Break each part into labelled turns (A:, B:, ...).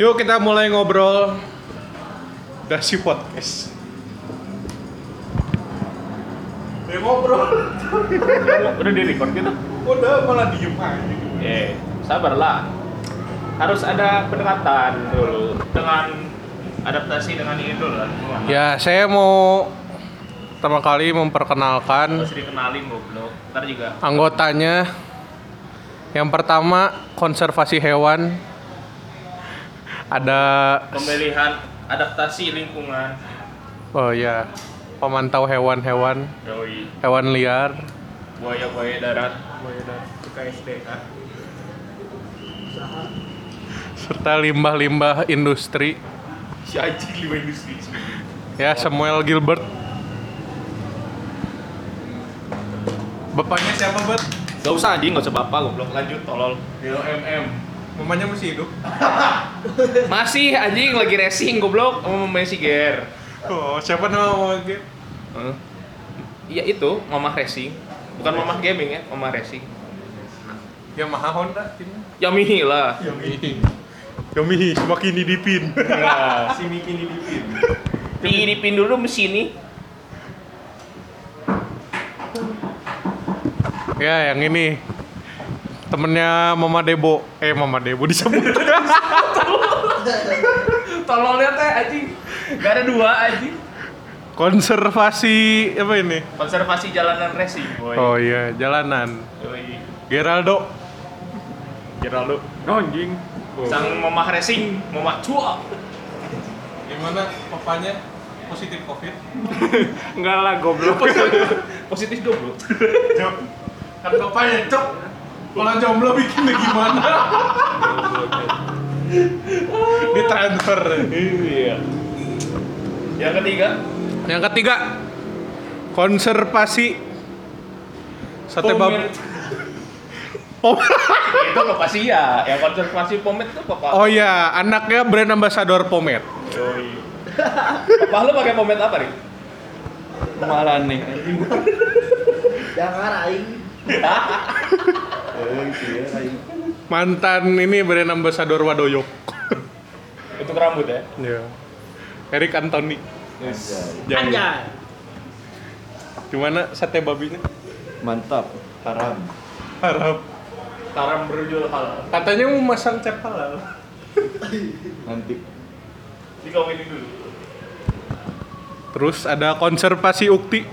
A: Yuk kita mulai ngobrol Dasi Podcast. Eh ngobrol.
B: Udah di record gitu?
A: Udah malah diem aja.
B: Eh, sabarlah. Harus ada pendekatan dulu dengan adaptasi dengan ini dulu lah. Gimana?
A: Ya, saya mau pertama kali memperkenalkan
B: Harus dikenalin goblok. Ntar juga
A: anggotanya. Yang pertama konservasi hewan. Ada
B: pemilihan adaptasi lingkungan.
A: oh ya, pemantau hewan-hewan,
B: Doi
A: hewan liar.
B: buaya-buaya darat, buaya darat KSDK.
A: serta limbah-limbah industri
B: Si anjing lima industri sebenarnya.
A: ya Samuel Gilbert bapaknya siapa bet
B: Gak usah anjing, gak usah bapak goblok. Lanjut tolol. MM.
A: mamanya masih hidup
B: Masih anjing lagi racing goblok sama Messi Gear.
A: oh siapa nama mamanya
B: Hah? Iya itu, Mama Racing. Bukan Mama Gaming ya, Mama Racing.
A: Yamaha Honda timnya
B: Yamihi Ya, lah.
A: Yomi Yomi semakin didipin
B: si Miki dipin. Diiripin dulu mesin
A: ya yang ini temennya Mama Debo eh Mama Debo disebut
B: Tolong lihat teh anjing. Gak ada dua anjing.
A: konservasi apa ini
B: Konservasi jalanan racing, boy.
A: oh iya jalanan
B: Yoi.
A: Geraldo
B: Geraldo.
A: anjing
B: Oh. Sang Mama Racing, Mama Cua.
A: gimana papanya positif covid
B: Enggak lah goblok. Positif goblok.
A: Jok. Kan bapaknya cok. Kalau jomblo bikinnya gimana? Ditransfer.
B: Iya. Yang ketiga,
A: Yang ketiga, konservasi sate bab
B: pomade. itu Bapak Sia, yang konservasi pomade tuh Bapak.
A: Oh iya, anaknya brand ambassador Pomet.
B: Yoi. Bapak lu pakai pomade apa nih? Kemarin nih.
C: Jangan aing.
A: Mantan ini brand ambassador Wadoyo.
B: Untuk rambut ya.
A: Iya. Erik Anthony. Anjay.
C: Anjay.
A: Gimana sate babinya?
D: Mantap, haram.
A: Harap.
B: Taram berujul halal.
A: Katanya mau masang cap halal.
D: Nanti
B: Dikawinin dulu.
A: Terus ada konservasi ukti.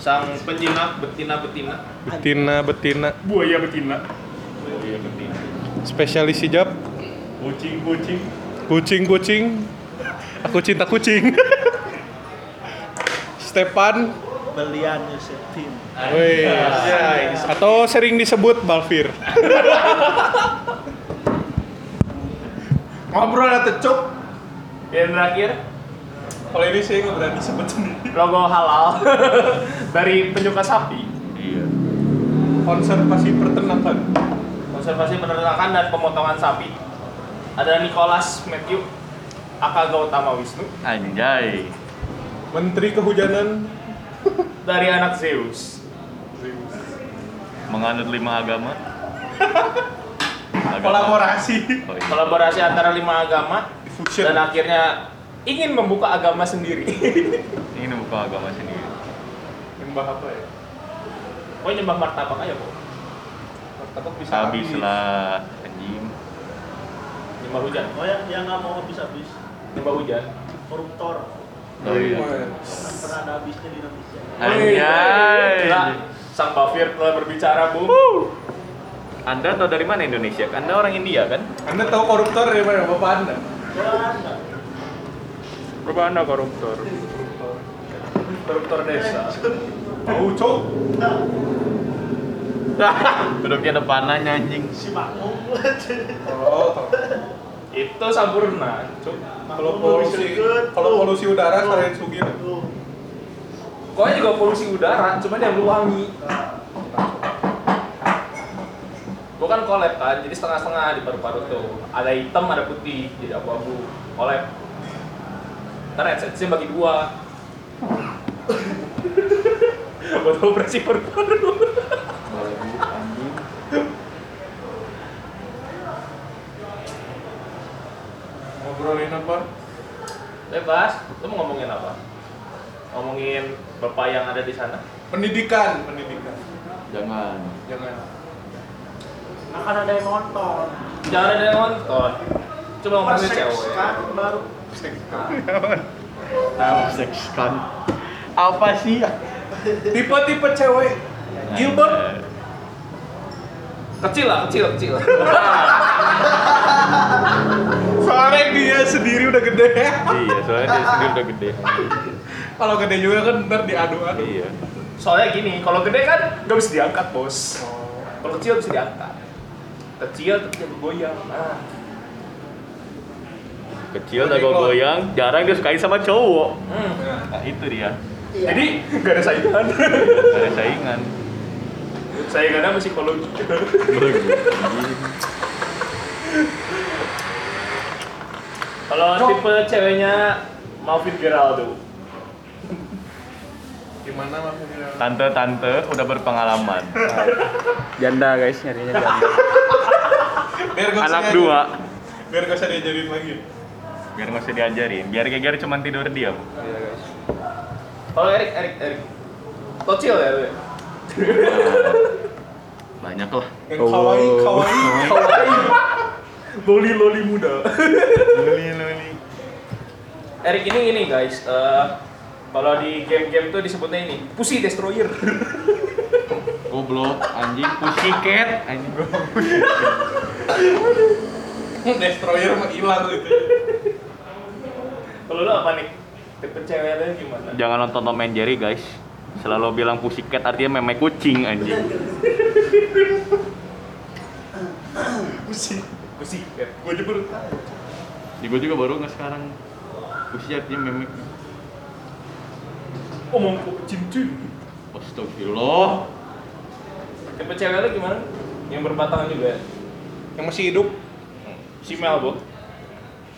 B: Sang penjinak betina betina.
A: Betina-betina.
B: Buaya betina. Buaya betina.
A: Spesialis hijab.
B: Kucing kucing.
A: Kucing kucing. Aku cinta kucing. Stepan.
C: Belian Yusetin.
A: Wih. Atau sering disebut Balfir. Ngobrol atau cuk?
B: Dan terakhir
A: Kalau ini saya nggak berani sebut sendiri.
B: logo halal dari penyuka sapi.
A: Konservasi peternakan.
B: Konservasi peternakan dan pemotongan sapi. Ada Nicholas Matthew Aka Gautama Wisnu
D: anjay.
A: Menteri Kehujanan.
B: dari anak Zeus.
D: Menganut lima agama. Agama.
A: Kolaborasi.
D: Oh, iya.
B: Kolaborasi antara lima agama dan
A: Fusion.
B: akhirnya ingin membuka agama sendiri.
D: Ini bukan agama sendiri.
A: Nyembah apa ya?
B: Pokoknya nyembah martabak aja kok.
A: Martabak bisa
D: Habis lah anjing.
B: Nyembah hujan.
C: Oh yang yang nggak mau habis-habis.
B: Nyembah hujan.
C: Koruptor.
D: Oh, iya.
C: Kan pernah ada habisnya di Indonesia.
D: Anjay.
B: Gila. Sang Bafir telah berbicara, Bu.
D: Anda tahu dari mana Indonesia? Anda orang India kan?
A: Anda tahu koruptor dari mana bapak Anda?
C: Jangan. nggak?
B: Coba Anda koruptor. Koruptor desa.
A: Tahu cuk.
C: Nggak,
D: Duduknya depanannya anjing.
C: Si makmum.
A: Oh, tahu.
B: Itu sampurna. Cuk.
A: Kalau polusi, kalau polusi udara selain Sugiro.
C: Tuh.
B: Pokoknya juga polusi udara, cuman yang wangi. Gue kan collab kan, jadi setengah-setengah di paru-paru tuh. Ada hitam, ada putih, jadi abu-abu. Collab. Ntar headsetnya bagi dua. Buat operasi paru-paru.
D: gitu, Anjing.
A: Kenapa?
B: Bebas, lu mau ngomongin apa? Ngomongin bapak yang ada di sana?
A: Pendidikan, pendidikan.
D: Jangan.
A: Jangan.
C: akan ada yang nonton
B: Jangan ada yang nonton. Coba ngomongin cewek.
C: persekskan baru
D: Ah, sekskan. Apa sih?
A: Tipe-tipe cewek. Gilbert.
B: Kecil lah, kecil, kecil.
A: Soalnya dia sendiri udah gede.
D: iya, soalnya dia sendiri udah gede.
A: Kalau gede juga kan ntar diadu-adu.
D: Iya.
B: Soalnya gini, kalau gede kan nggak bisa diangkat bos. Kalau kecil bisa diangkat. Kecil tapi dia bergoyang. Nah,
D: Kecil jago goyang, jarang dia sukai sama cowok.
B: hmm.
D: Nah, itu dia.
B: Jadi nggak ada saingan.
D: Gak ada saingan.
B: Saingannya masih psikologi. Kalau tipe ceweknya Malvin Geraldo.
A: Gimana maksudnya?
D: Tante-tante udah berpengalaman.
E: Janda guys nyarinya janda.
A: Biar gak usah
D: Anak
A: diajarin.
D: dua.
A: Biar gak usah diajarin lagi.
D: Biar nggak usah diajarin. Biar geger cuman tidur diam.
E: Iya guys.
B: Kalau Erik, Erik, Erik. Kecil ya lu. ya?
D: Banyak lah.
A: Yang kawaii,
E: Oh.
A: kawaii.
B: Kawaii. Loli loli muda.
D: Luli, luli.
B: Erik ini ini guys. eh, kalau di game-game tuh disebutnya ini Pussy Destroyer.
D: Goblok, anjing, pussycat, anjing.
A: Destroyer mah hilang gitu.
B: Kalau lu apa nih? Tipe ceweknya gimana?
D: Jangan nonton Tom and Jerry guys. Selalu bilang pussycat artinya meme kucing anjing.
A: Pusing.
B: Pussy. Cat.
A: Gue aja baru tahu.
D: Di gua juga baru nggak sekarang. Pussy artinya meme.
B: Omong kok cincin.
D: Astagfirullah.
B: Tipe cewek lu gimana? Yang berbatang juga. ya? Hmm.
A: Yang masih hidup?
B: Si Melbo,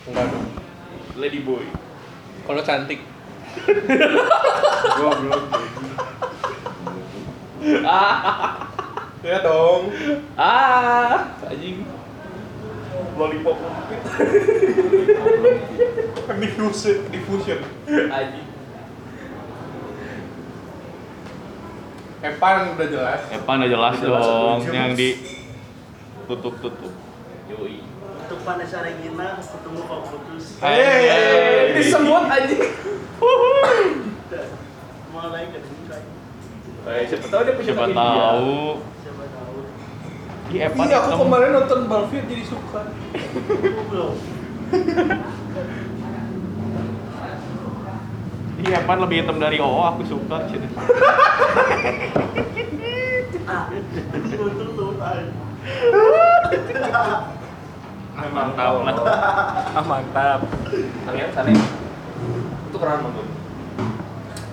A: Enggak dong.
B: Lady Boy.
A: Kalau cantik.
E: Goblok.
A: Ya dong.
B: Ah, anjing. Lollipop Mumpit.
A: Diffusion, Kan diffusion.
B: anjing.
A: Epan udah jelas.
D: Epan udah jelas
B: Udah jelas,
D: dong
B: udah jelas.
D: yang di tutup-tutup.
B: Yoi.
C: untuk Vanessa Regina ketemu kok putus
A: Yeay.
B: Disebut anjing.
C: mulai ke Detroit.
B: Eh, siapa tahu dia punya
D: Siapa
B: kaki dia.
D: tahu
C: siapa tahu
D: di Epan
A: Iya, aku
D: ketemu.
A: kemarin nonton Balvin jadi suka.
C: Aku belum
D: di Epan lebih hitam dari OO aku suka. Cina.
C: ah untuk tuh
D: Mantap lah.
E: Ah mantap.
B: Kalian sana. Itu keren banget.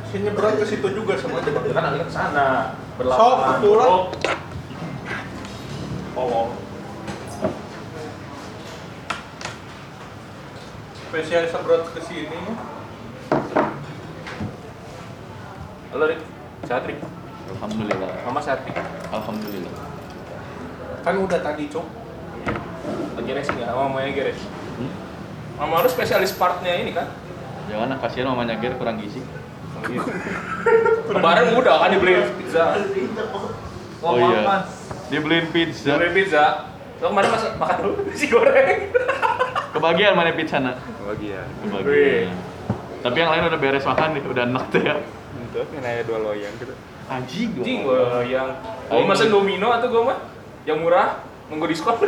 A: Saya nyebrang ke situ juga sama aja.
B: Kan alih ke sana.
A: Sok,
B: Berlapangan.
A: betul.
B: Sok. Tolong.
A: Spesial sebrot ke sini.
B: Halo, Rik. Sehat, Rik.
D: Alhamdulillah.
B: Mama sehat, Rik.
D: Alhamdulillah.
A: Kan udah tadi, Cuk.
B: Lagi racing ya? Mamanya lagi racing.
D: Hmm?
B: Mama lu spesialis partnya ini kan?
D: Jangan lah kasihan mamanya Ger kurang gizi. Oh, iya.
B: Kemarin udah kan dibeliin pizza.
D: Oh,
B: Ngomong
D: iya.
B: apa?
D: Dibeliin pizza.
B: Dibeliin pizza. Lo kemarin masak makan dulu nasi goreng.
D: Kebagian mana pizza nak?
E: Bagian.
D: Kebagian. Tapi yang lain udah beres makan nih, udah enak tuh ya.
E: Untuk yang nanya dua loyang gitu.
D: Anjing gua.
B: Anjing gue yang gue mesen domino atau gue mah yang murah nunggu diskon.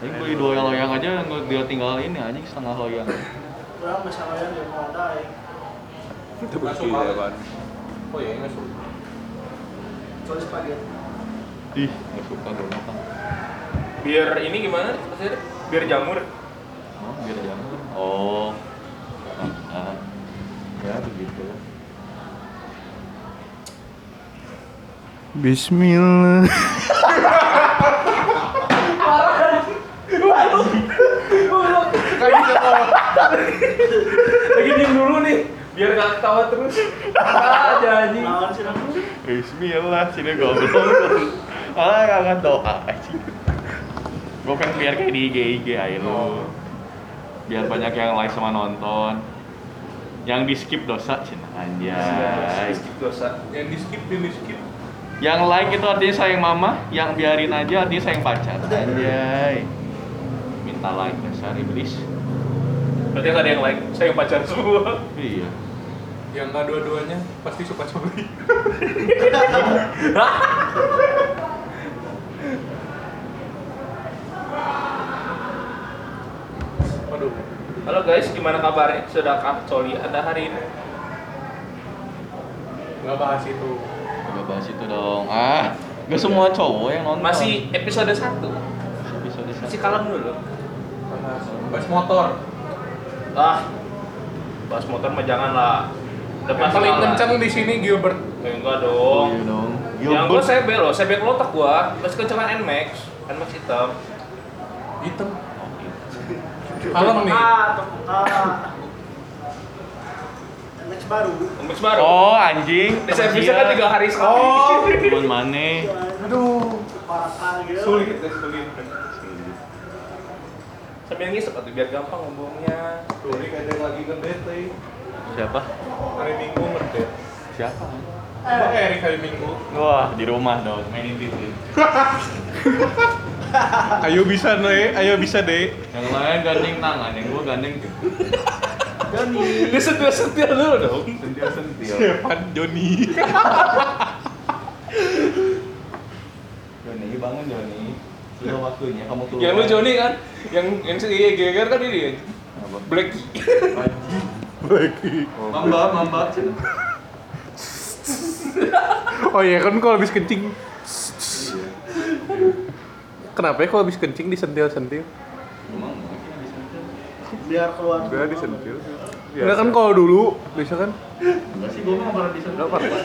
D: Anjing beli dua loyang aja nggak dia tinggal ini anjing setengah loyang.
C: Orang masalahnya dia mau ada ya.
E: Itu bukti ya kan.
B: Oh iya nggak suka.
C: Soalnya spaghetti.
D: Ih, nggak suka gua makan.
B: Biar ini gimana? Maksudnya biar jamur.
D: Oh, biar jangan. Oh. Ah. Ya begitu.
E: Bismillah.
B: Lagi diem dulu nih. Biar nggak ketawa terus. Ah, aja anjing.
C: Naon sih namanya?
D: Bismillah, sini goblok. ah, kangen
B: Oh.
D: Oh. doa anjing. Gua kan biar kayak di IG IG aja lu. biar banyak yang like sama nonton yang di skip dosa cina anjay
B: skip dosa
F: Yang di skip, yang di skip.
D: yang like itu artinya sayang mama yang biarin aja artinya sayang pacar anjay minta like dasar iblis
B: berarti nggak ada yang like saya yang pacar semua
D: iya
F: Yang nggak dua-duanya pasti suka curi.
B: Waduh. Halo guys, gimana kabarnya? Sudahkah coli Anda hari ini?
F: Nggak bahas itu.
D: Gak bahas itu dong ah gak semua cowok yang nonton Oh,
B: Masih episode 1.
D: episode satu.
B: Masih kalem dulu.
F: Bahas motor.
B: Ah. Bahas motor mah jangan lah. Depan
F: Yang paling
B: segala.
F: kenceng di sini Gilbert.
B: Eh, enggak dong.
D: Iya dong
B: Yang
D: Gilbert.
B: gue sebel loh, sebel otak gua. Terus kencengan Nmax, Nmax hitam.
F: Hitam.
D: Oke.
F: Kalem nih.
C: Ah, tepuk Next baru.
B: Nmax baru.
D: oh anjing
B: Di servisnya kan tiga hari sekali.
F: Oh.
D: cuman mana
F: Aduh.
C: Parah kali gitu.
F: Sulit, ya, sulit.
B: Sambil ngisep atuh biar gampang ngomongnya.
F: Sulit ada yang lagi ngedate. eh.
D: siapa
F: Hari Minggu ngedate.
D: siapa
F: Bang Erik hari Minggu.
D: wah di rumah dong mainin TV
A: Ayo bisa deh, ayo bisa deh.
D: yang lain gandeng tangan yang gua gandeng
B: Ini setia-setia dulu dong.
D: sentil sentil
A: Stefan Joni.
D: Joni bangun Joni sudah waktunya kamu keluar
B: Yang lu Joni kan, yang yang si iya, geger kan ini.
D: Apa?
B: Blacky.
D: mamba mamba Cina.
A: Oh iya kan kalau habis kencing. Kenapa ya kalau habis kencing disentil-sentil?
D: Emang mungkin bisa aja.
C: Biar keluar.
F: Gue disentil. Iya,
A: Enggak kan kalau dulu, bisa kan?
D: Enggak sih, gua mah pernah bisa. Enggak pernah.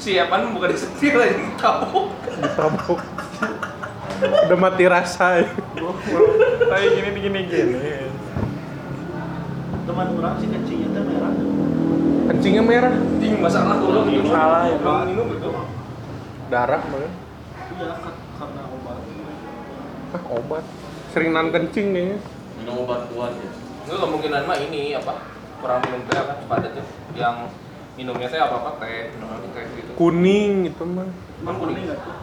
B: Siapan bukan disetir aja tahu.
A: Ditabok. Udah mati rasa. ya.
F: Kayak gini gini gini.
C: Teman orang sih kencingnya tuh merah. Iya,
A: Kencingnya merah,
B: Ding masalah tuh lo minum
F: Salah ya, Pak.
B: Lo minum itu.
A: darah malah.
C: Iya, ka- karena obat.
A: Ah, obat. Sering nan kencing kayaknya.
D: Minum obat kuat ya.
B: Itu kemungkinan mah ini apa? Kurang minum teh apa padatnya yang minumnya teh apa apa teh, minumnya teh gitu.
A: Kuning itu mah.
C: Emang kuning nggak tuh?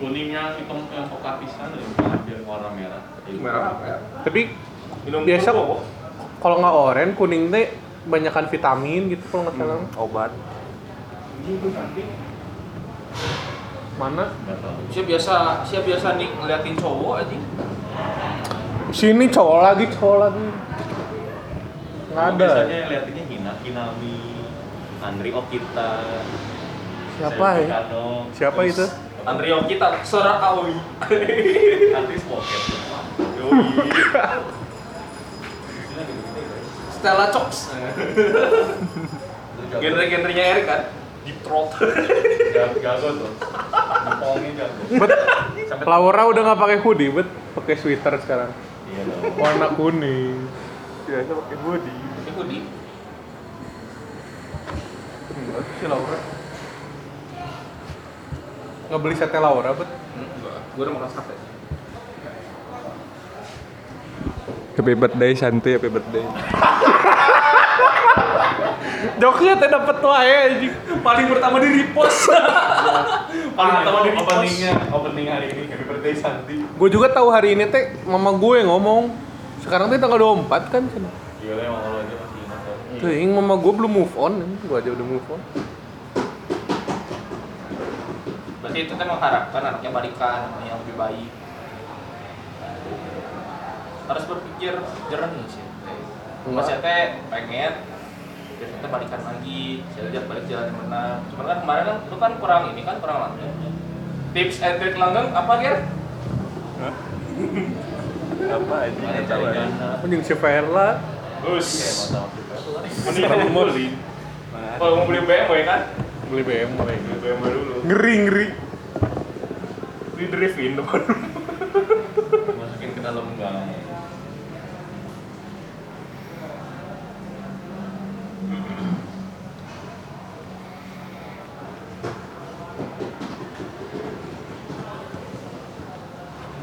D: Kuningnya hitam yang poka pisan ya, hampir warna merah. Iya.
B: Merah apa ya?
A: Tapi
B: Minum
A: Biasa
B: dulu, kok.
A: kalau nggak oren, kuning teh banyakan vitamin gitu kalau nggak salah.
F: Hmm, Obat.
A: Mana?
D: Enggak tahu.
B: Siapa biasa, siapa biasa nih ngeliatin cowok aja.
A: Sini cowok lagi, cowok lagi. Nggak ada. ya?
D: Biasanya yang liatinnya Hina, Kinami, Andri Okita.
A: Siapa
D: Sebi
A: ya?
D: Kano,
A: Siapa itu?
B: Andrio kita, Sora Aoi.
D: Artis pocket.
B: Stella Chops.
F: Iya.
B: Genre-genrenya Erik kan? Deep Throat.
D: Gago tuh. Dipongin gago.
A: Bet, Laura udah nggak pakai hoodie, bet pakai sweater sekarang.
D: Iya dong.
A: Warna kuning.
F: Biasa pakai body.
B: Itu di
A: Si Laura. Nggak beli sate Laura, bet?
B: Gue udah makan sate.
F: Happy birthday Santi, happy birthday.
A: Joknya teh dapet wae anjing.
B: Paling pertama di repost. Paling pertama di repost.
D: opening hari ini Happy Birthday Santi.
A: Gue juga tahu hari ini teh mama gue ngomong. Sekarang teh tanggal 24 kan? Cen?
D: Gila emang lo aja masih ingat kan?
A: Tuh, yang mama gue belum move on, gue aja udah move on.
B: Berarti itu kan mengharapkan anaknya balikan yang lebih baik. Harus berpikir jernih sih. Mas
A: Enggak.
B: teh pengen kita balikan lagi, saya ajak balik jalan yang benar. Cuman kan kemarin kan lu kan kurang ini kan kurang langgeng. Tips and trick langgeng apa Ger?
F: Apa aja?
D: Gimana cari dana?
A: Anjing si Verla.
G: Iya,
D: Emang
B: Us.
D: tahu kita.
B: Mending kamu kan mau beli. Kalau mau beli BMW kan?
A: Beli BMW.
B: Beli BMW dulu.
A: Ngeri ngeri.
B: Di drift in depan.
D: Masukin ke dalam gang.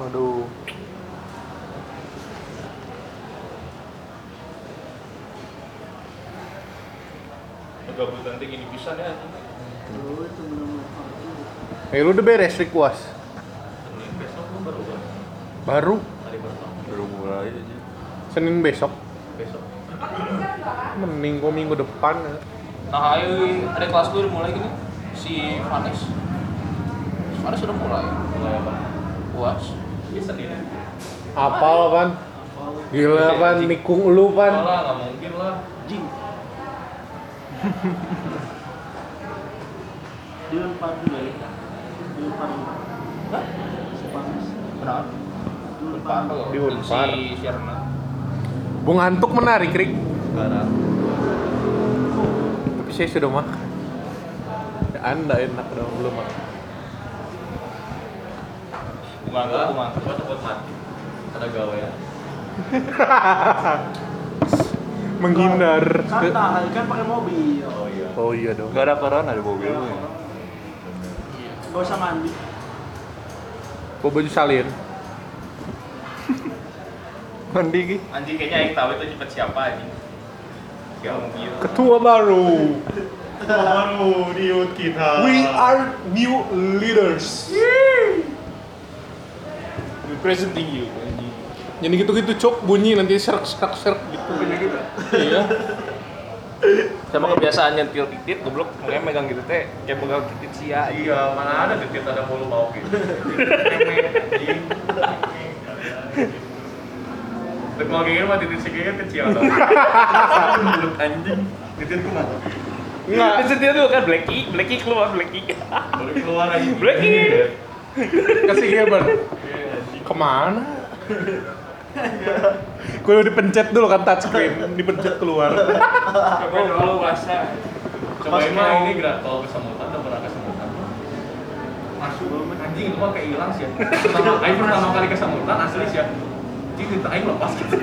A: Aduh.
D: gabut nanti gini bisa ya anjing.
C: Lu itu bener-bener parah juga.
A: Eh lu udah beres request?
D: Senin besok gua baru gua
A: Baru
D: hari pertama
G: Baru mulai aja.
A: Senin besok.
D: besok
A: Mending gua minggu depan. ya.
D: nah ayo ada kelas gue udah mulai gini si Vanes Si Vanes udah mulai mulai apa puas
B: Iya,
D: ya Senin
A: Apal pan?
C: Apal,
A: Gila pan, nikung lu
D: Enggak
A: pan.
D: lah nggak mungkin lah
C: jing. Dilempar juga ya. Dilempar juga.
D: Hah?
C: Si panas.
D: benar
C: Dilempar.
A: Di Unpar.
D: si Sherna
A: Bung Antuk menarik, Rik.
B: Barang.
A: Tapi saya sudah makan. Ya, anda enak dong, belum makan.
D: bunga gua bunga gua takut mati ya?
B: Ada gawean.
A: Menghindar.
C: Kan tahan, kan pakai mobil.
B: Oh iya.
A: Oh iya dong.
G: Gak ada corona ada mobil lu ya?
C: Gak usah mandi.
A: Gua baju salin.
G: Mandi Ki.
D: anjing kayaknya yang tahu itu cepet siapa anjing Gak mungkin
A: Ketua baru.
D: baru di youth kita
A: are new leaders.
D: representing you anjing
A: Jadi gitu-gitu cok bunyi nanti serak serak serak gitu bunyi gitu.
D: iya sama kebiasaan nyentil titit goblok makanya megang gitu teh kayak pegang titit sia iya mana ada titit ada mulu mau gitu Titik mau kayak gini mah titik segini kecil tau Mulut anjing Titik tuh mana? Enggak, titik itu kan Blacky, Blacky keluar, Blacky Baru keluar aja Blacky
A: Kasih dia bar. Kemana? Gue dipencet dulu kan touchscreen, dipencet keluar.
D: Coba dulu rasa
A: Mas,
D: Cobain mah
A: mau-
D: ini gerak tol kesemutan, udah pernah kesemutan Masuk anjing itu mah kayak hilang sih ya Pertama kali pertama kali kesemutan asli sih ya Anjing titik aing lepas gitu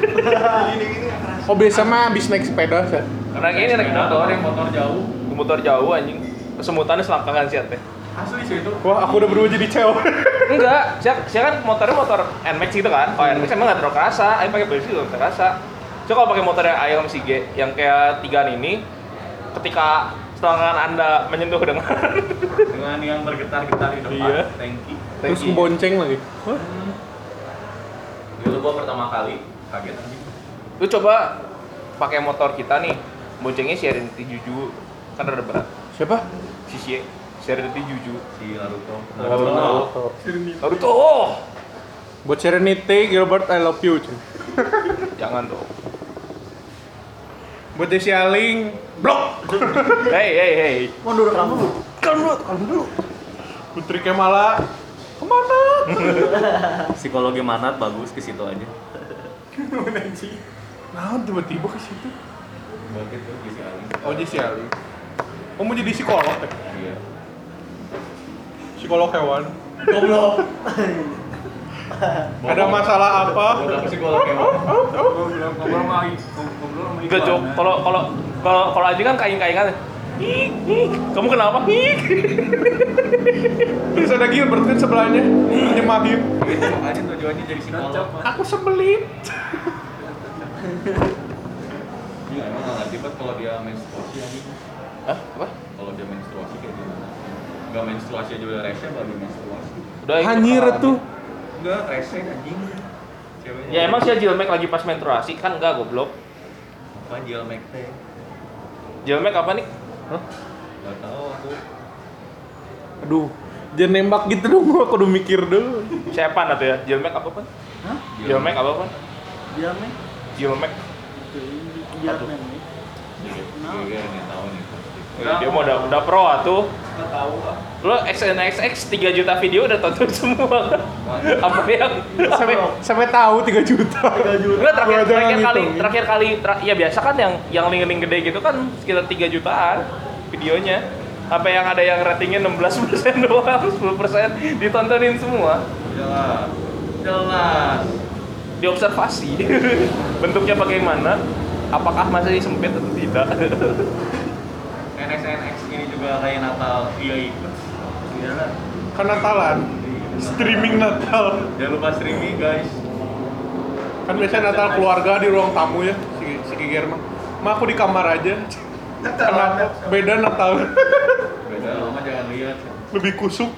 A: Oh biasa mah abis naik sepeda Seth.
D: Karena ini naik motor, yang motor jauh
B: Motor jauh anjing. Kesemutannya selangkangan sih teh.
D: Asli sih itu
A: Wah aku udah berubah jadi cewek.
B: Enggak, saya, saya kan motornya motor NMAX gitu kan. Kalau NMAX emang nggak terlalu kerasa, ayo pakai polisi juga nggak kerasa. Cuma kalau pakai motor yang ayam si G, yang kayak tigaan ini, ketika tangan anda menyentuh dengan
D: dengan yang bergetar-getar di depan
B: Iya.
D: tanki
A: Terus
B: tanki,
A: bonceng lagi. Wah.
D: dulu gua pertama kali kaget anjing
B: lu coba pakai motor kita nih, boncengnya Serenity Juju kan ada berat,
A: Siapa?
B: si Xie, Serenity Juju.
D: si Naruto
B: Lalu tuh, oh,
A: Buat Serenity, Gilbert, I love you. cuy.
B: jangan dong.
A: Buat Desi Aling, blok.
B: Hey, hey, hey.
C: Mundur kamu.
A: Putri Kemala, kemana?
H: psikologi manat bagus ke situ aja
A: Nah, tiba-tiba ke situ.
D: bangkit tuh di si Aling
A: Oh, Desi Aling. Oh, mau jadi psikolog ya?
D: iya
A: Psikolog hewan.
D: goblok
A: Ada masalah apa?
D: goblok psikolog emang ngobrol sama ngobrol sama
B: Enggak Jok. kalau kalau kalau kalau aja kan kain-kaingan. Hik, hik. Kamu kenapa? Hik.
A: Terus ada Gilbert kan sebelahnya, nyemahin.
D: itu Iya, makanya tujuannya jadi psikolog
A: Aku sebelin.
D: iya emang nggak ngerti banget kalau dia menstruasi anjing
B: Hah? Apa?
D: kalau dia menstruasi kayak gimana nggak menstruasi aja udah rese baru menstruasi
B: Udah ikut parah.
D: enggak rese anjing Ceweknya.
B: Ya emang sih Jilmek lagi pas menstruasi kan enggak goblok.
D: apa jelmek teh
B: Jilmek apa nih?
D: nggak tahu aku
A: Aduh, jangan nembak gitu dong, gua kudu mikir dulu.
B: Siapa atau ya? Jilmek apa pun?
C: Hah?
B: Jilmek apa pun?
C: Dia meh.
B: Jilmek.
C: Itu ini dia
D: Satu.
C: meh.
D: Gue nggak tahu nih
B: Eh, Dia mau udah udah pro atuh.
D: nggak tahu ah
B: Lo XNXX 3 juta video udah tonton semua. apa yang
A: Sampai sampai tahu 3 juta.
C: 3 juta.
B: Enggak terakhir,
A: Gua jangan
B: terakhir kali
A: ngitungin.
B: terakhir kali tra- ya biasa kan yang yang link-link gede gitu kan sekitar 3 jutaan videonya. Apa yang ada yang ratingnya 16% doang, 10% ditontonin semua,
D: jelas jelas
B: diobservasi. Bentuknya bagaimana? Apakah masih sempit atau tidak?
D: NSNX ini juga kayak Natal iya ikut iya lah
A: Kan Natalan. Streaming Natal.
D: jangan lupa streaming guys
A: Kan biasanya Natal keluarga di ruang tamu ya, si, si Kiger mah. Ma aku di kamar aja. Kenapa? Beda Natal.
D: Beda lama jangan lihat.
A: Lebih kusuk.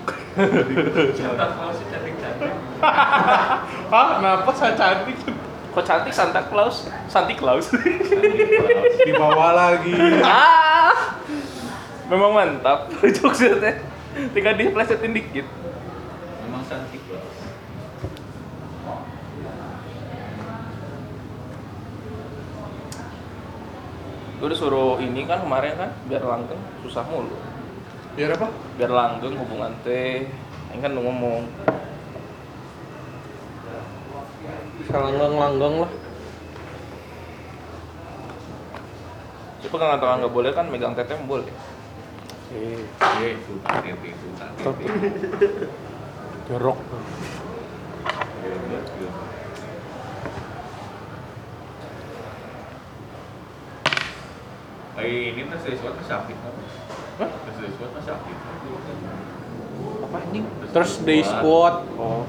I: Santa Claus sih cantik-cantik.
A: Hah? Kenapa saya cantik?
B: Kok cantik Santa Claus? Santi Claus.
A: Dibawa lagi.
B: ah. Memang mantap jokesnya. Tinggal diplesetin dikit.
D: Memang cantik loh.
B: Gue udah suruh ini kan kemarin kan biar langgeng susah mulu.
A: Ya apa?
B: Biar langgeng hubungan teh. Ini kan udah ngomong. Langgeng-langgeng lah. Tapi kalau nggak nggak boleh kan megang teteh boleh.
A: Eh,
D: Iya itu KTP itu KTP.
A: Jorok.
D: Iya, iya, iya. Eh, ini tes dari SWOT masih aktif kan? Tes dari SWOT masih aktif.
A: Apa anjing?
D: Terus day
A: squad. Oh.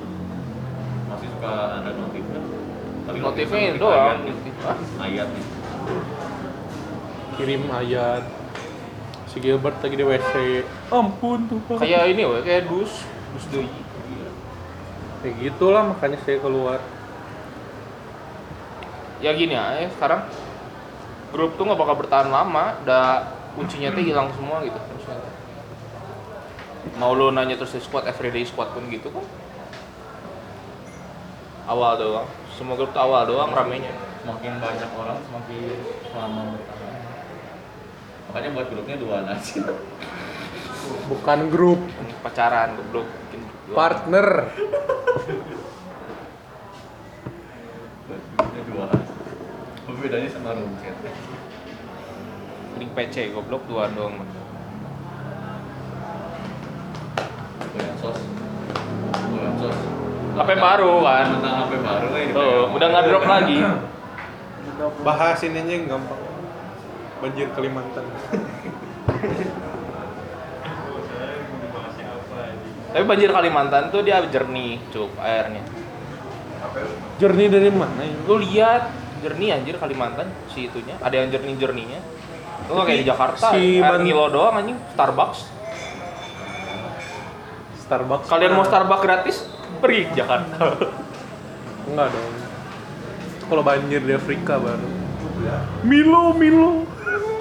D: Masih suka ada notif kan? Tapi
B: Notifnya
D: notif
B: doang.
D: ayat nih. gitu.
B: kan.
D: Ayat nih.
A: Kirim ayat. Si Gilbert lagi di WC. Ampun Tuhan.
B: Kayak ini weh, kayak dus, dus doi.
A: Kayak gitulah makanya saya keluar.
B: Ya gini aja sekarang grup tuh nggak bakal bertahan lama, udah kuncinya tuh hilang semua gitu. Mau lo nanya terus di squad everyday squad pun gitu kan? Awal doang, semua grup tuh awal doang ramenya.
D: Semakin banyak orang semakin lama bertahan. Makanya buat grupnya dua nasi.
A: Bukan grup,
B: Pacaran goblok. bikin dua.
A: partner.
D: Buat grupnya dua nasi. Apa bedanya sama room chat?
B: Link PC goblok dua doang.
D: Goyang sos. Goyang sos.
B: HP baru kan?
D: Tentang HP baru kan ini
B: Tuh,
D: pegang.
B: udah nggak drop lagi.
A: Bahas ini aja yang gampang. Banjir Kalimantan.
B: Tapi banjir Kalimantan tuh dia jernih, cuk airnya.
A: Jernih dari mana ya?
B: lu lihat jernih anjir Kalimantan si itunya ada yang jernih jerninya lu nggak kayak di Jakarta
A: Si
B: si air
A: Ban-
B: Milo doang anjing Starbucks
A: Starbucks.
B: kalian mau Starbucks gratis pergi ke Jakarta
A: Enggak dong. Itu Kalau banjir di Afrika baru. Milo, Milo.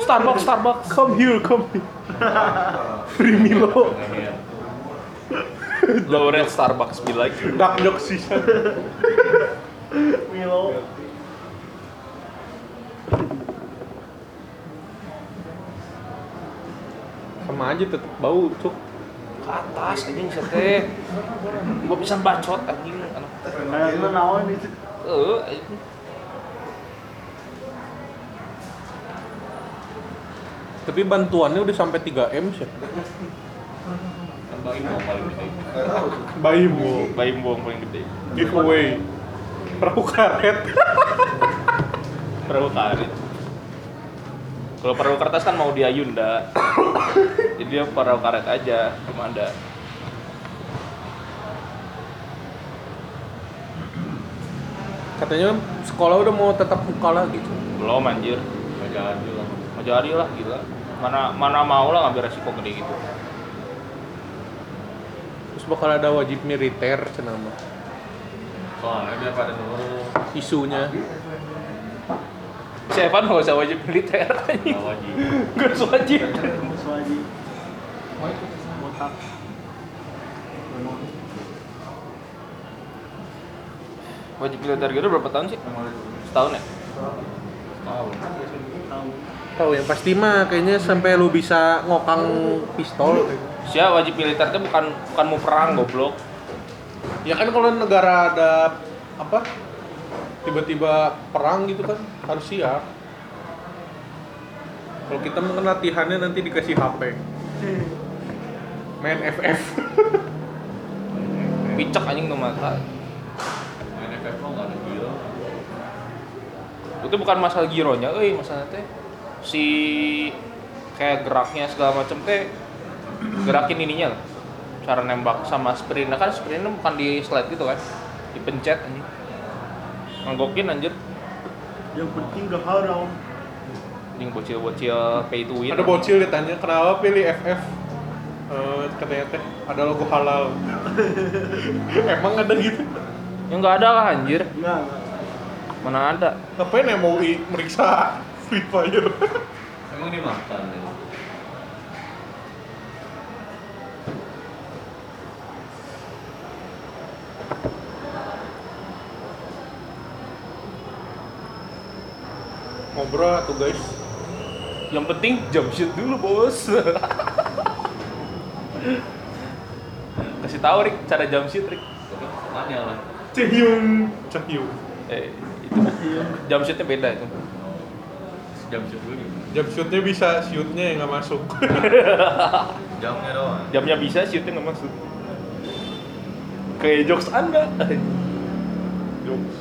B: Starbucks Starbucks
A: Come here, come here. Free Milo.
D: Iya.
B: lo red Starbucks be like
A: Dark joke season.
C: Milo.
A: Sama aja tetep bau, cuk.
B: ke atas anjing sete gua bisa bacot anjing anak
C: Kayak lu naon itu.
B: eh anjing.
A: Tapi bantuannya udah sampai 3 M sih.
D: Kan Bang Imo paling gede.
A: Bayi mau
B: bayi buang paling gede
A: giveaway. Perahu karet.
B: perahu karet kalau perahu kertas kan mau dia Yunda jadi dia perahu karet aja cuma ada
A: Katanya sekolah udah mau tetap muka lagi, cuk.
B: belum anjir
D: Nggak jalan juga.
B: mau jadi lah gila mana mana mau lah ngambil resiko gede gitu
A: Terus bakal ada wajib militer cenama.
D: Soalnya dia pada nurut.
A: Isunya.
B: si Evan gak usah wajib militer
D: Nggak wajib.
B: gak usah wajib
C: Suaji. Botak.
B: wajib militer gitu berapa tahun sih? setahun ya?
D: Tahu.
C: Tahu.
A: Tahu yang pasti mah kayaknya sampai lu bisa ngokang pistol.
B: Sia wajib militer itu bukan bukan mau perang goblok
A: Ya kan kalau negara ada apa tiba-tiba perang gitu kan harus siap. Kalau kita mungkin latihannya nanti dikasih HP. Hmm. Main FF.
B: picek anjing tuh mata
D: Main FF lo nggak ada gila.
B: itu bukan masalah gironya eh masalah teh si kayak geraknya segala macam teh gerakin ininya loh cara nembak sama sprintnya kan sprintnya bukan di slide gitu kan dipencet anjing nganggokin anjir
C: Yang penting gak haram.
B: Yang bocil-bocil pay to win.
A: Ada bocil ditanya kenapa pilih FF Eh, katanya teh ada logo halal. Emang ada gitu?
B: Yang Ya, nggak ada lah anjir.
C: Enggak,
B: Mana ada?
A: Ngapain MUI meriksa Free Fire?
D: Emang dia makan ya?
A: Ngobrol tuh guys.
B: Yang penting jump shoot dulu bos. Kasih tahu Rick cara jump shoot Rick.
D: Tapi kan tanya lah
A: Cehyung, cehyung.
B: Eh, itu jump shootnya beda itu.
D: Jam shoot dulu gimana?
A: Jump shootnya bisa, shootnya yang nggak masuk.
D: Jamnya doang
B: Jamnya bisa, shootnya nggak masuk. Kayak jokes anda.
A: Jokes.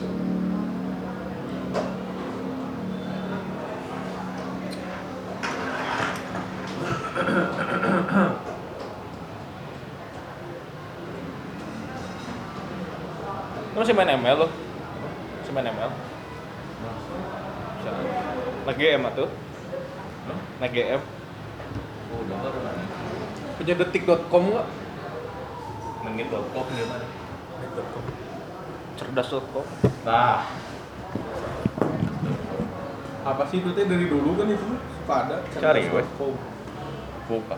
B: Lu masih main ML lo? Masih main ML? Siapa? Nah GM atuh? Nah GM?
D: Oh udah baru kan
A: Punya detik.com nggak?
D: Mungkin bokok gimana?
B: Cerdas lo kok.
D: Nah
A: Apa sih itu teh dari dulu kan itu suka ada.
B: Cari, gue.
A: .com.
D: Buka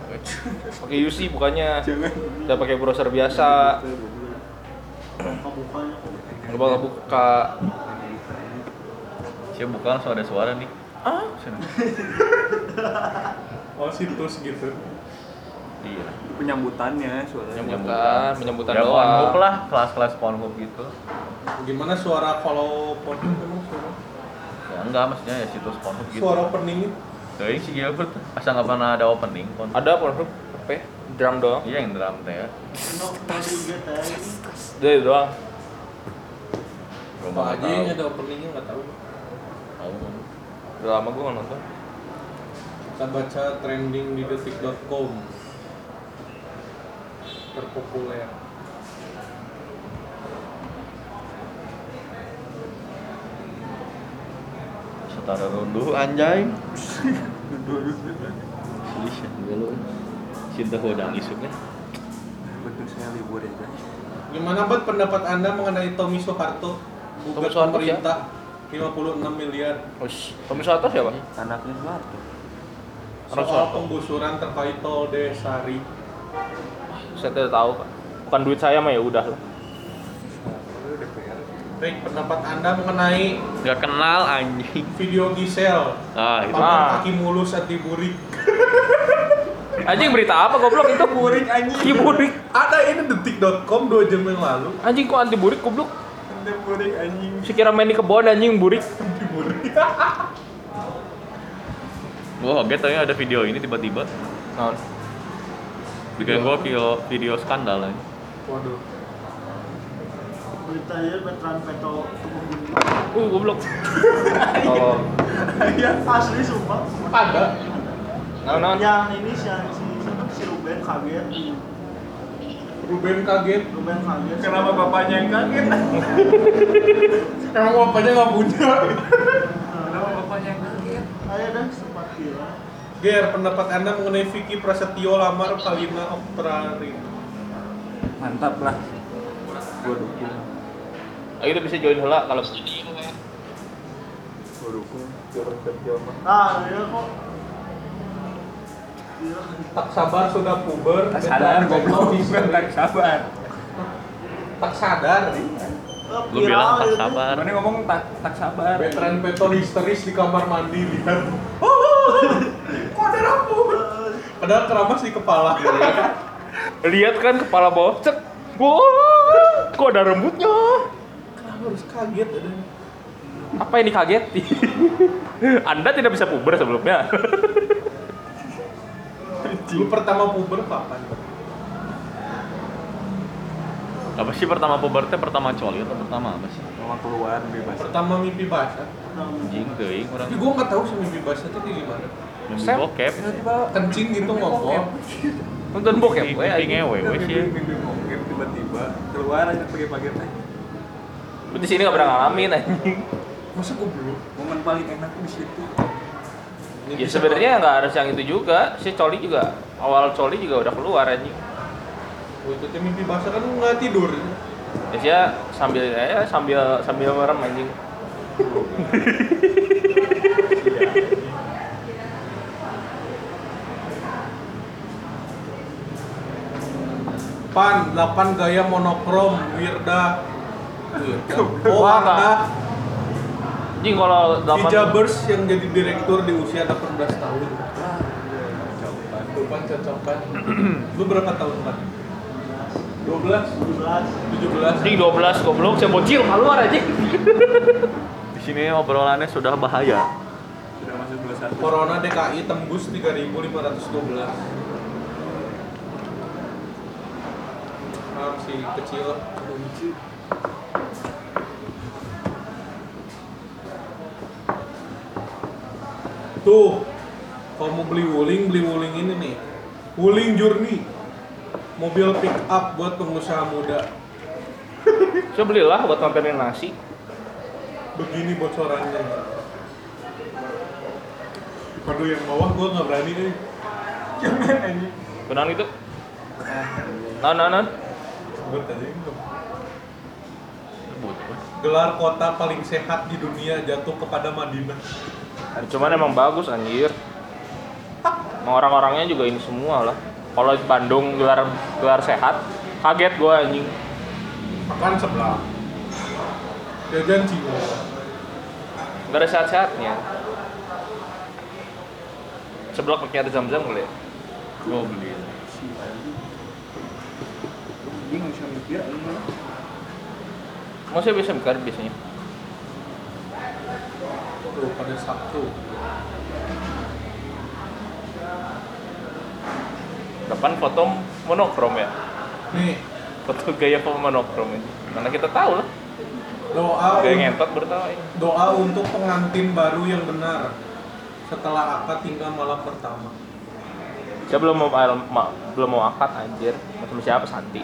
B: Pakai UC bukannya. Udah pakai browser biasa.
C: Apa bukanya kok?
B: Nggak bakal buka.
D: Siapa buka langsung ada suara nih
B: Ah?
A: Oh situs gitu.
D: Iya
J: Penyambutannya suaranya.
B: Penyambutan, penyambutan
D: Ya Pornhub
B: doang.
D: lah, kelas-kelas Pornhub gitu
A: Gimana suara kalau porno emang suara?
D: Ya enggak maksudnya ya situs Pornhub gitu iya,
A: Suara opening
D: Dari si Gilbert Asal nggak pernah ada opening Pornhub
B: Ada Pornhub, apa ya? Drum doang.
D: Iya yang drum teh ya
C: Enak, tadi juga tadi.
B: Udah itu doang.
D: Gua mau
A: aja
D: tahu.
A: yang ada openingnya nggak tahu.
D: Tahu kan?
B: Udah lama gue nggak nonton.
A: Kita baca trending di detik.com. Terpopuler.
D: Setara runduh anjay Iya, Cinta hodang isuknya
J: Betul saya libur ya guys.
A: Gimana buat pendapat Anda mengenai Tommy Soeharto? Gugat
B: Tommy Soeharto
A: pemerintah 56 miliar
B: Ush, Tommy Soeharto siapa?
J: Anaknya suatu.
B: Orang
A: soal
B: Soeharto.
A: penggusuran terkait Tol Desari.
B: Saya tidak tahu. Pak. Bukan duit saya mah ya udah lah.
A: Rick, pendapat Anda mengenai
D: Gak kenal anjing
A: video Gisel
D: Ah itu
A: pamer
B: Ah.
A: kaki mulus at di burik.
B: Anjing berita apa goblok itu?
A: Burik anjing.
B: Iya burik.
A: Ada ini detik.com 2 jam yang lalu.
B: Anjing kok anti burik goblok?
A: Anda burik anjing
B: Sekira main di kebon anjing burik.
A: di burik.
D: Gue kaget tadi ada video ini tiba-tiba
A: Iya.
B: Nah,
D: Bikin gue video, video skandal ya. aja
A: Waduh.
C: Beritanya ya, veteran Peto Tubuh Gunung.
B: uh goblok. Oh. Tolong.
C: Iya, asli sumpah.
A: Ada.
B: Nah, nah.
C: Yang ini si si siapa? si Ruben kaget.
A: Ruben kaget.
C: Ruben kaget. Nah.
A: bapaknya yang kaget? Emang bapaknya nggak punya.
C: Kenapa bapaknya yang kaget? Ayo dan sempat gila.
A: Ger, pendapat anda mengenai Vicky Prasetyo lamar Kalina Oktrari?
J: Mantap lah. Gua dukung.
B: Ayo kita bisa join heula kalau
J: Gua dukung.
C: Nah, dia kok. Dia
A: Tak sabar sudah puber.
J: Tak sadar
A: beda- beda
J: goblok.
A: bisa.
J: Tak sabar.
A: Tak sadar.
C: Eh,
D: Lu bilang tak
C: gitu.
D: sabar
J: Mana ngomong tak tak sabar.
A: Veteran peto histeris di kamar mandi lihat. oh, Kok ada rambut? Padahal keramas di kepala.
B: lihat kan kepala bawah cek. Wah, kok ada rambutnya?
A: Kenapa harus kaget? Ada.
B: Apa yang dikageti? Anda tidak bisa puber sebelumnya.
A: Lu pertama puber kapan?
D: Apa sih pertama pubertnya pertama coli atau pertama apa sih?
J: Mama keluar bebas.
A: Pertama mimpi basah.
D: Anjing teuing orang
A: Tapi gua nggak tahu sih mimpi basah itu kayak gimana.
D: mimpi
B: Sam.
D: bokep.
A: Kencing gitu ngomong.
B: Nonton bokep
D: Mimpi
B: we
D: mimpi
B: anjing.
D: ngewe we sih.
J: mungkin tiba-tiba keluar aja pakai-pakai teh.
B: Lu di sini nggak pernah ngalamin anjing.
A: Masa gua belum?
J: Momen paling enak di situ.
B: Ya sebenarnya nggak harus yang itu juga. Si Coli juga awal Coli juga udah keluar anjing.
J: Oh, itu tuh mimpi basah kan lu nggak tidur.
B: Ya dia sambil ya sambil sambil merem anjing.
J: Pan, 8 gaya monokrom, Wirda. Wirda. Oh,
B: Wah,
J: Warna.
B: Anjing kalau delapan
J: Hijabers yang jadi direktur di usia 18 tahun. Cocokan, cocokan. Lu berapa tahun, Pan? 12, 17.
B: anjing 12 goblok saya bocil keluar anjing.
D: Di sini obrolannya sudah bahaya.
K: Sudah masuk 21.
J: Corona DKI tembus 3512. Harus sih kecil. Tuh, kalau mau beli wuling, beli wuling ini nih. Wuling Journey. Mobil pick up buat pengusaha muda.
B: Saya belilah buat mampinin nasi.
J: Begini bocorannya. Aduh yang bawah gua nggak berani nih.
B: Benar itu? Nah, Non non non.
J: Sebut aja itu. Gelar kota paling sehat di dunia jatuh kepada Madinah.
B: Cuman emang bagus anjir. Emang orang-orangnya juga ini semua lah. Kalau Bandung gelar gelar sehat, kaget gua anjing.
J: Makan sebelah. Jajan Cimo.
B: Gak ada sehat-sehatnya. Sebelah pakai ada zam-zam kali ya.
D: Gue beli.
K: Ini nggak bisa mikir, ini mah.
B: Maksudnya biasa bukan biasanya.
J: Tuh pada Sabtu.
B: Depan foto monokrom ya.
J: Nih,
B: Foto gaya foto monokrom ya. Karena kita tahu lah,
J: doa
B: gaya
J: un-
B: ngentot bertawa ini.
J: doa untuk pengantin baru yang benar setelah akad tinggal malam pertama.
B: Saya belum mau ma- belum mau akad anjir. Macam siapa Santi?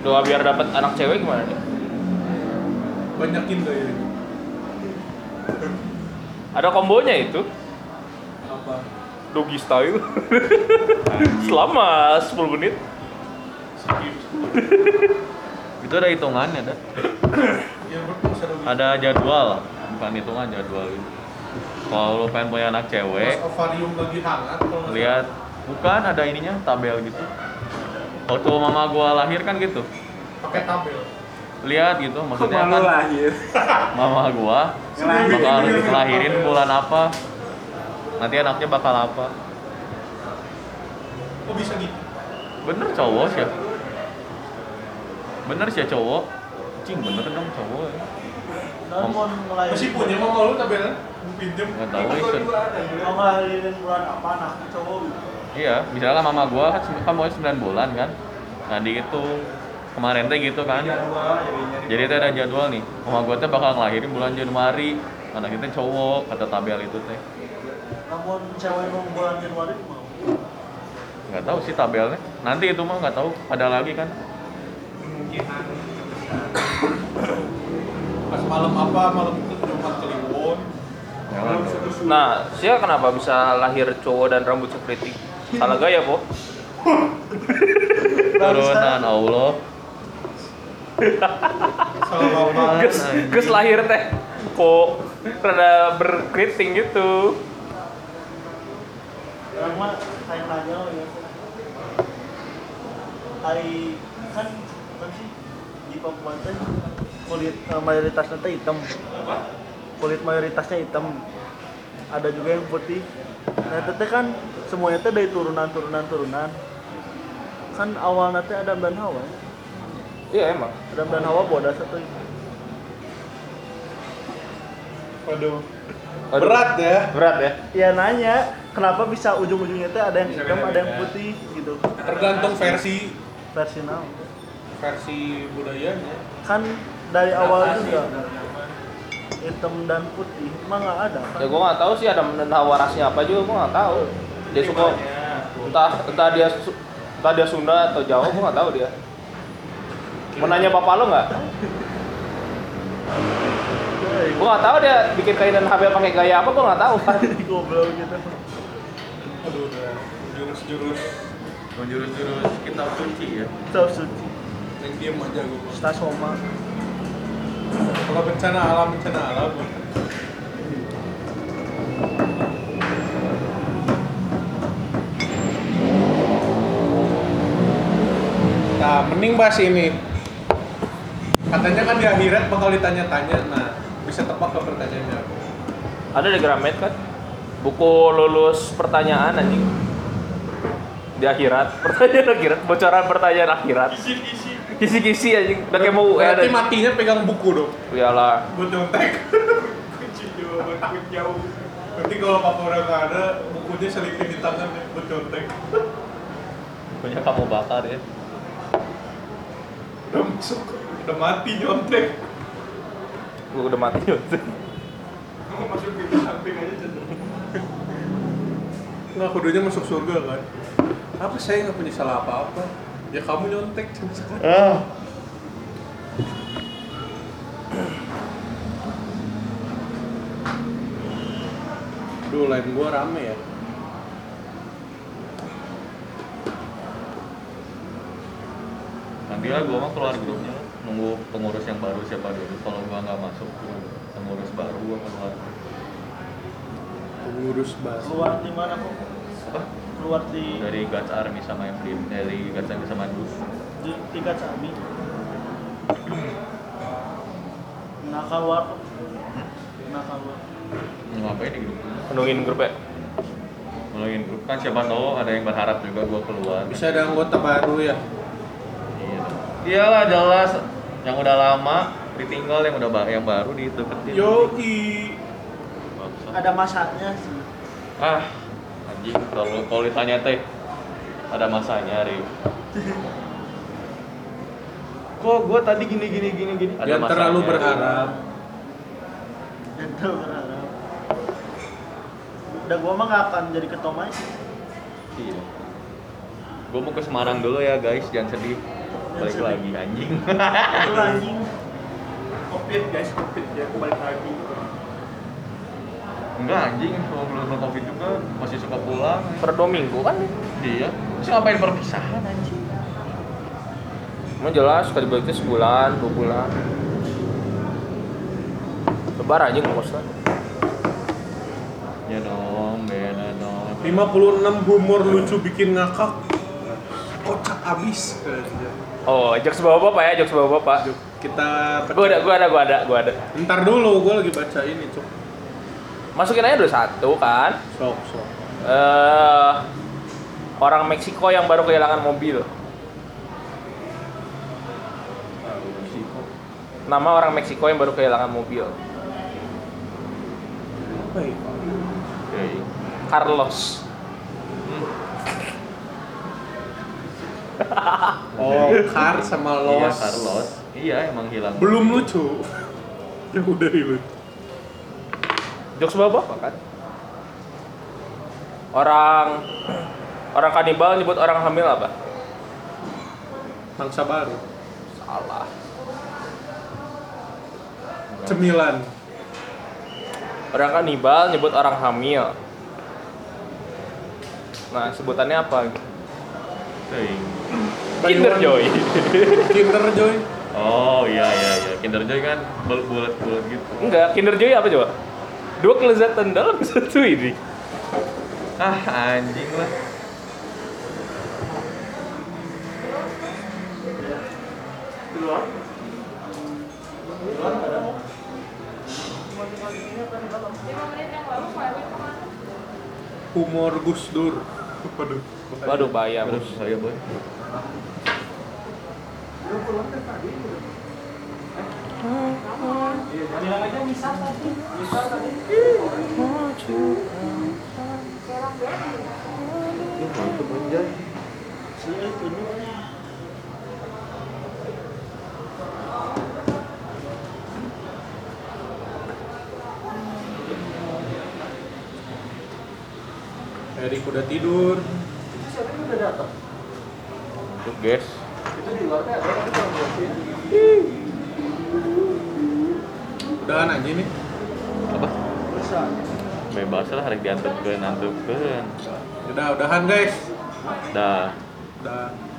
B: Doa biar dapat anak cewek gimana nih?
J: Banyakin gaya
B: Ada kombonya itu.
J: apa?
B: Doggy style. Selama 10 menit.
D: Itu ada hitungannya, ada.
J: Ya berpuasa dong.
D: Ada jadwal, bukan hitungan jadwal. Kalau lu pengen punya anak
J: Pas
D: cewek,
J: ovarium lagi hangat kalau nggak
D: eh. lihat bukan ada ininya tabel gitu. Waktu mama gua lahir kan gitu.
J: salah. pakai tabel.
D: Lihat gitu maksudnya
K: Malu
D: kan
K: lahir.
D: mama gua bakal ngelahirin bulan apa. Nanti anaknya bakal apa?
J: Kok bisa gitu?
D: Bener cowok sih. ya. Bener sih ya cowok. Cing bener dong cowok. ya.
C: Dan Nah, mau ngelahirin
J: Masih punya mama lu tabelnya? Lu pinjem.
D: Nggak tahu, Isen.
C: Mau ngelahirin bulan apa nah cowok gitu.
D: Iya, misalnya mama gua kan sem- kan mau 9 bulan kan. Nah, di itu kemarin teh gitu kan.
C: Iya.
D: Jadi teh ada jadwal nih. Mama gua teh bakal ngelahirin bulan Januari. Anak kita cowok kata tabel itu teh.
C: Namun cewek mau bulan Januari mau.
D: Nggak tahu sih tabelnya. Nanti itu mah nggak tahu ada lagi kan.
J: Pas malam apa? Malam itu Jumat Kliwon.
D: Jangan dong.
B: Nah, saya kenapa bisa lahir cowok dan rambut seperti salah gaya, Po?
D: Turunan Allah.
J: Salah apa?
B: Gus, Gus lahir teh kok rada berkeriting gitu.
C: Orang mah kayak aja loh ya. Hari kan kan sih di Papua teh kulit eh, mayoritasnya teh hitam. Kulit mayoritasnya hitam. Ada juga yang putih. Nah, itu teh kan semuanya teh dari turunan-turunan-turunan. Kan awalnya teh Adam dan Hawa. ya.
B: Iya emang.
C: Adam dan Hawa bodas satu
J: Waduh.
B: Aduh,
J: Berat ya.
B: Berat ya.
C: ya nanya kenapa bisa ujung-ujungnya teh ada yang hitam ada yang putih gitu
J: Tergantung versi
C: versi now
J: versi budayanya.
C: kan dari awal juga hitam dan putih emang nggak ada kan?
B: Ya gua nggak tahu sih ada dan hawa rasnya apa juga gua nggak tahu. Dia suka entah entah dia su- entah dia Sunda atau Jawa gua nggak tahu dia. Mau nanya bapak lo nggak?
C: Iya,
B: Gue nggak tahu dia bikin kainan Habel pakai gaya apa, gue nggak tahu.
C: Goblok gitu.
J: Aduh, udah jurus-jurus
D: Menjurus-jurus kitab suci ya.
C: Kitab suci.
J: yang diem aja gue.
C: Stas Homa.
J: Kalau bencana alam, bencana alam. Nah, mending bahas ini. Katanya kan di akhirat bakal ditanya-tanya. Nah, bisa tebak ke pertanyaannya. apa?
B: Ada di Gramet kan? Buku lulus pertanyaan anjing. Di akhirat, pertanyaan akhirat, bocoran pertanyaan akhirat. Kisi-kisi anjing, udah kayak mau UN.
J: Berarti matinya pegang buku dong.
B: Iyalah.
J: Buat nyontek. Kunci jawaban gue jauh. Nanti kalau papa udah nggak ada, bukunya selipin di tangan buat nyontek.
D: Punya kamu bakar ya.
J: Udah masuk, udah mati nyontek.
B: Gue udah mati udah.
J: Mau masuk pintu samping aja jatuh. Nggak kudunya masuk surga kan? Apa saya nggak punya salah apa-apa? Ya kamu nyontek cuma sekali.
D: Ah.
J: Duh, lain gua rame ya.
D: Nanti lah gue mah keluar grupnya nunggu pengurus yang baru siapa dulu. Kalau gua nggak masuk pengurus baru gua keluar.
J: Pengurus bas.
C: Keluar di mana kok?
D: Apa?
C: Keluar di
D: Dari Guts Army sama yang Prim, dari Guts Army sama Dus.
C: di tingkat Sami. Nah, Nakawar. Nakawar.
D: Ngapain di grup? ini?
B: Menungin grupnya.
D: Nolongin grup kan siapa tahu ada yang berharap juga gua keluar.
J: Bisa ada anggota baru ya.
D: Iya. Iyalah jelas yang udah lama ditinggal yang udah ba- yang baru dideketin.
J: Yoi.
D: Bangsat.
C: Ada masaknya sih.
D: Ah, anjing kalau kalau ditanya teh ada masanya, Ri. Kok gua tadi gini gini gini gini. Ada
J: Jangan terlalu
D: masanya.
J: berharap.
C: Dan tuh berharap. Udah gua mah nggak akan jadi ketomai.
D: Iya. Gua mau ke Semarang dulu ya, guys. Jangan sedih. Balik
C: sedih.
D: lagi anjing.
C: Itu anjing.
L: Covid guys, covid ya aku balik lagi.
D: Enggak anjing, kalau belum Covid juga masih suka pulang.
B: Per dua minggu kan?
D: Iya. Terus ngapain perpisahan anjing?
B: Emang jelas, kali baliknya sebulan, dua bulan. Lebar anjing ngekos kan.
D: Ya dong, beda dong.
J: 56 humor lucu bikin ngakak. Kocak abis.
B: Oh, jokes bawa bapak ya, jokes bawa bapak.
J: Kita
B: Gue ada, gue ada, gue ada, gue ada.
J: Ntar dulu, gue lagi baca ini, cuk.
B: Masukin aja dulu satu kan.
J: Sok, sok.
B: eh orang Meksiko yang baru kehilangan mobil. Nama orang Meksiko yang baru kehilangan mobil.
J: Apa ya?
D: Ya, iya.
B: Carlos.
J: Oh, Car sama Los.
D: Iya, Carlos. Iya, emang hilang.
J: Belum lucu. ya udah hilang.
B: Jokes bapak kan? Orang orang kanibal nyebut orang hamil apa?
J: Mangsa baru.
B: Salah.
J: Cemilan.
B: Orang kanibal nyebut orang hamil. Nah, sebutannya apa?
D: Iya.
B: Kinder Joy.
J: Kinder Joy.
D: Oh iya iya iya. Kinder Joy kan bulat bulat bulat gitu.
B: Enggak, Kinder Joy apa coba? Dua kelezatan dalam satu ini.
D: Ah anjing lah.
J: Humor Gus Dur. Waduh.
B: Waduh, bahaya.
D: Terus saya boy.
C: Si itu nih.
J: Erik udah tidur.
D: Untuk guys.
L: Itu di luar kan ada tapi kalau di sini.
J: Udahan aja nih.
D: apa bebas lah harus diantuk ke nantuk
J: Udah, udahan guys.
D: dah
J: Udah.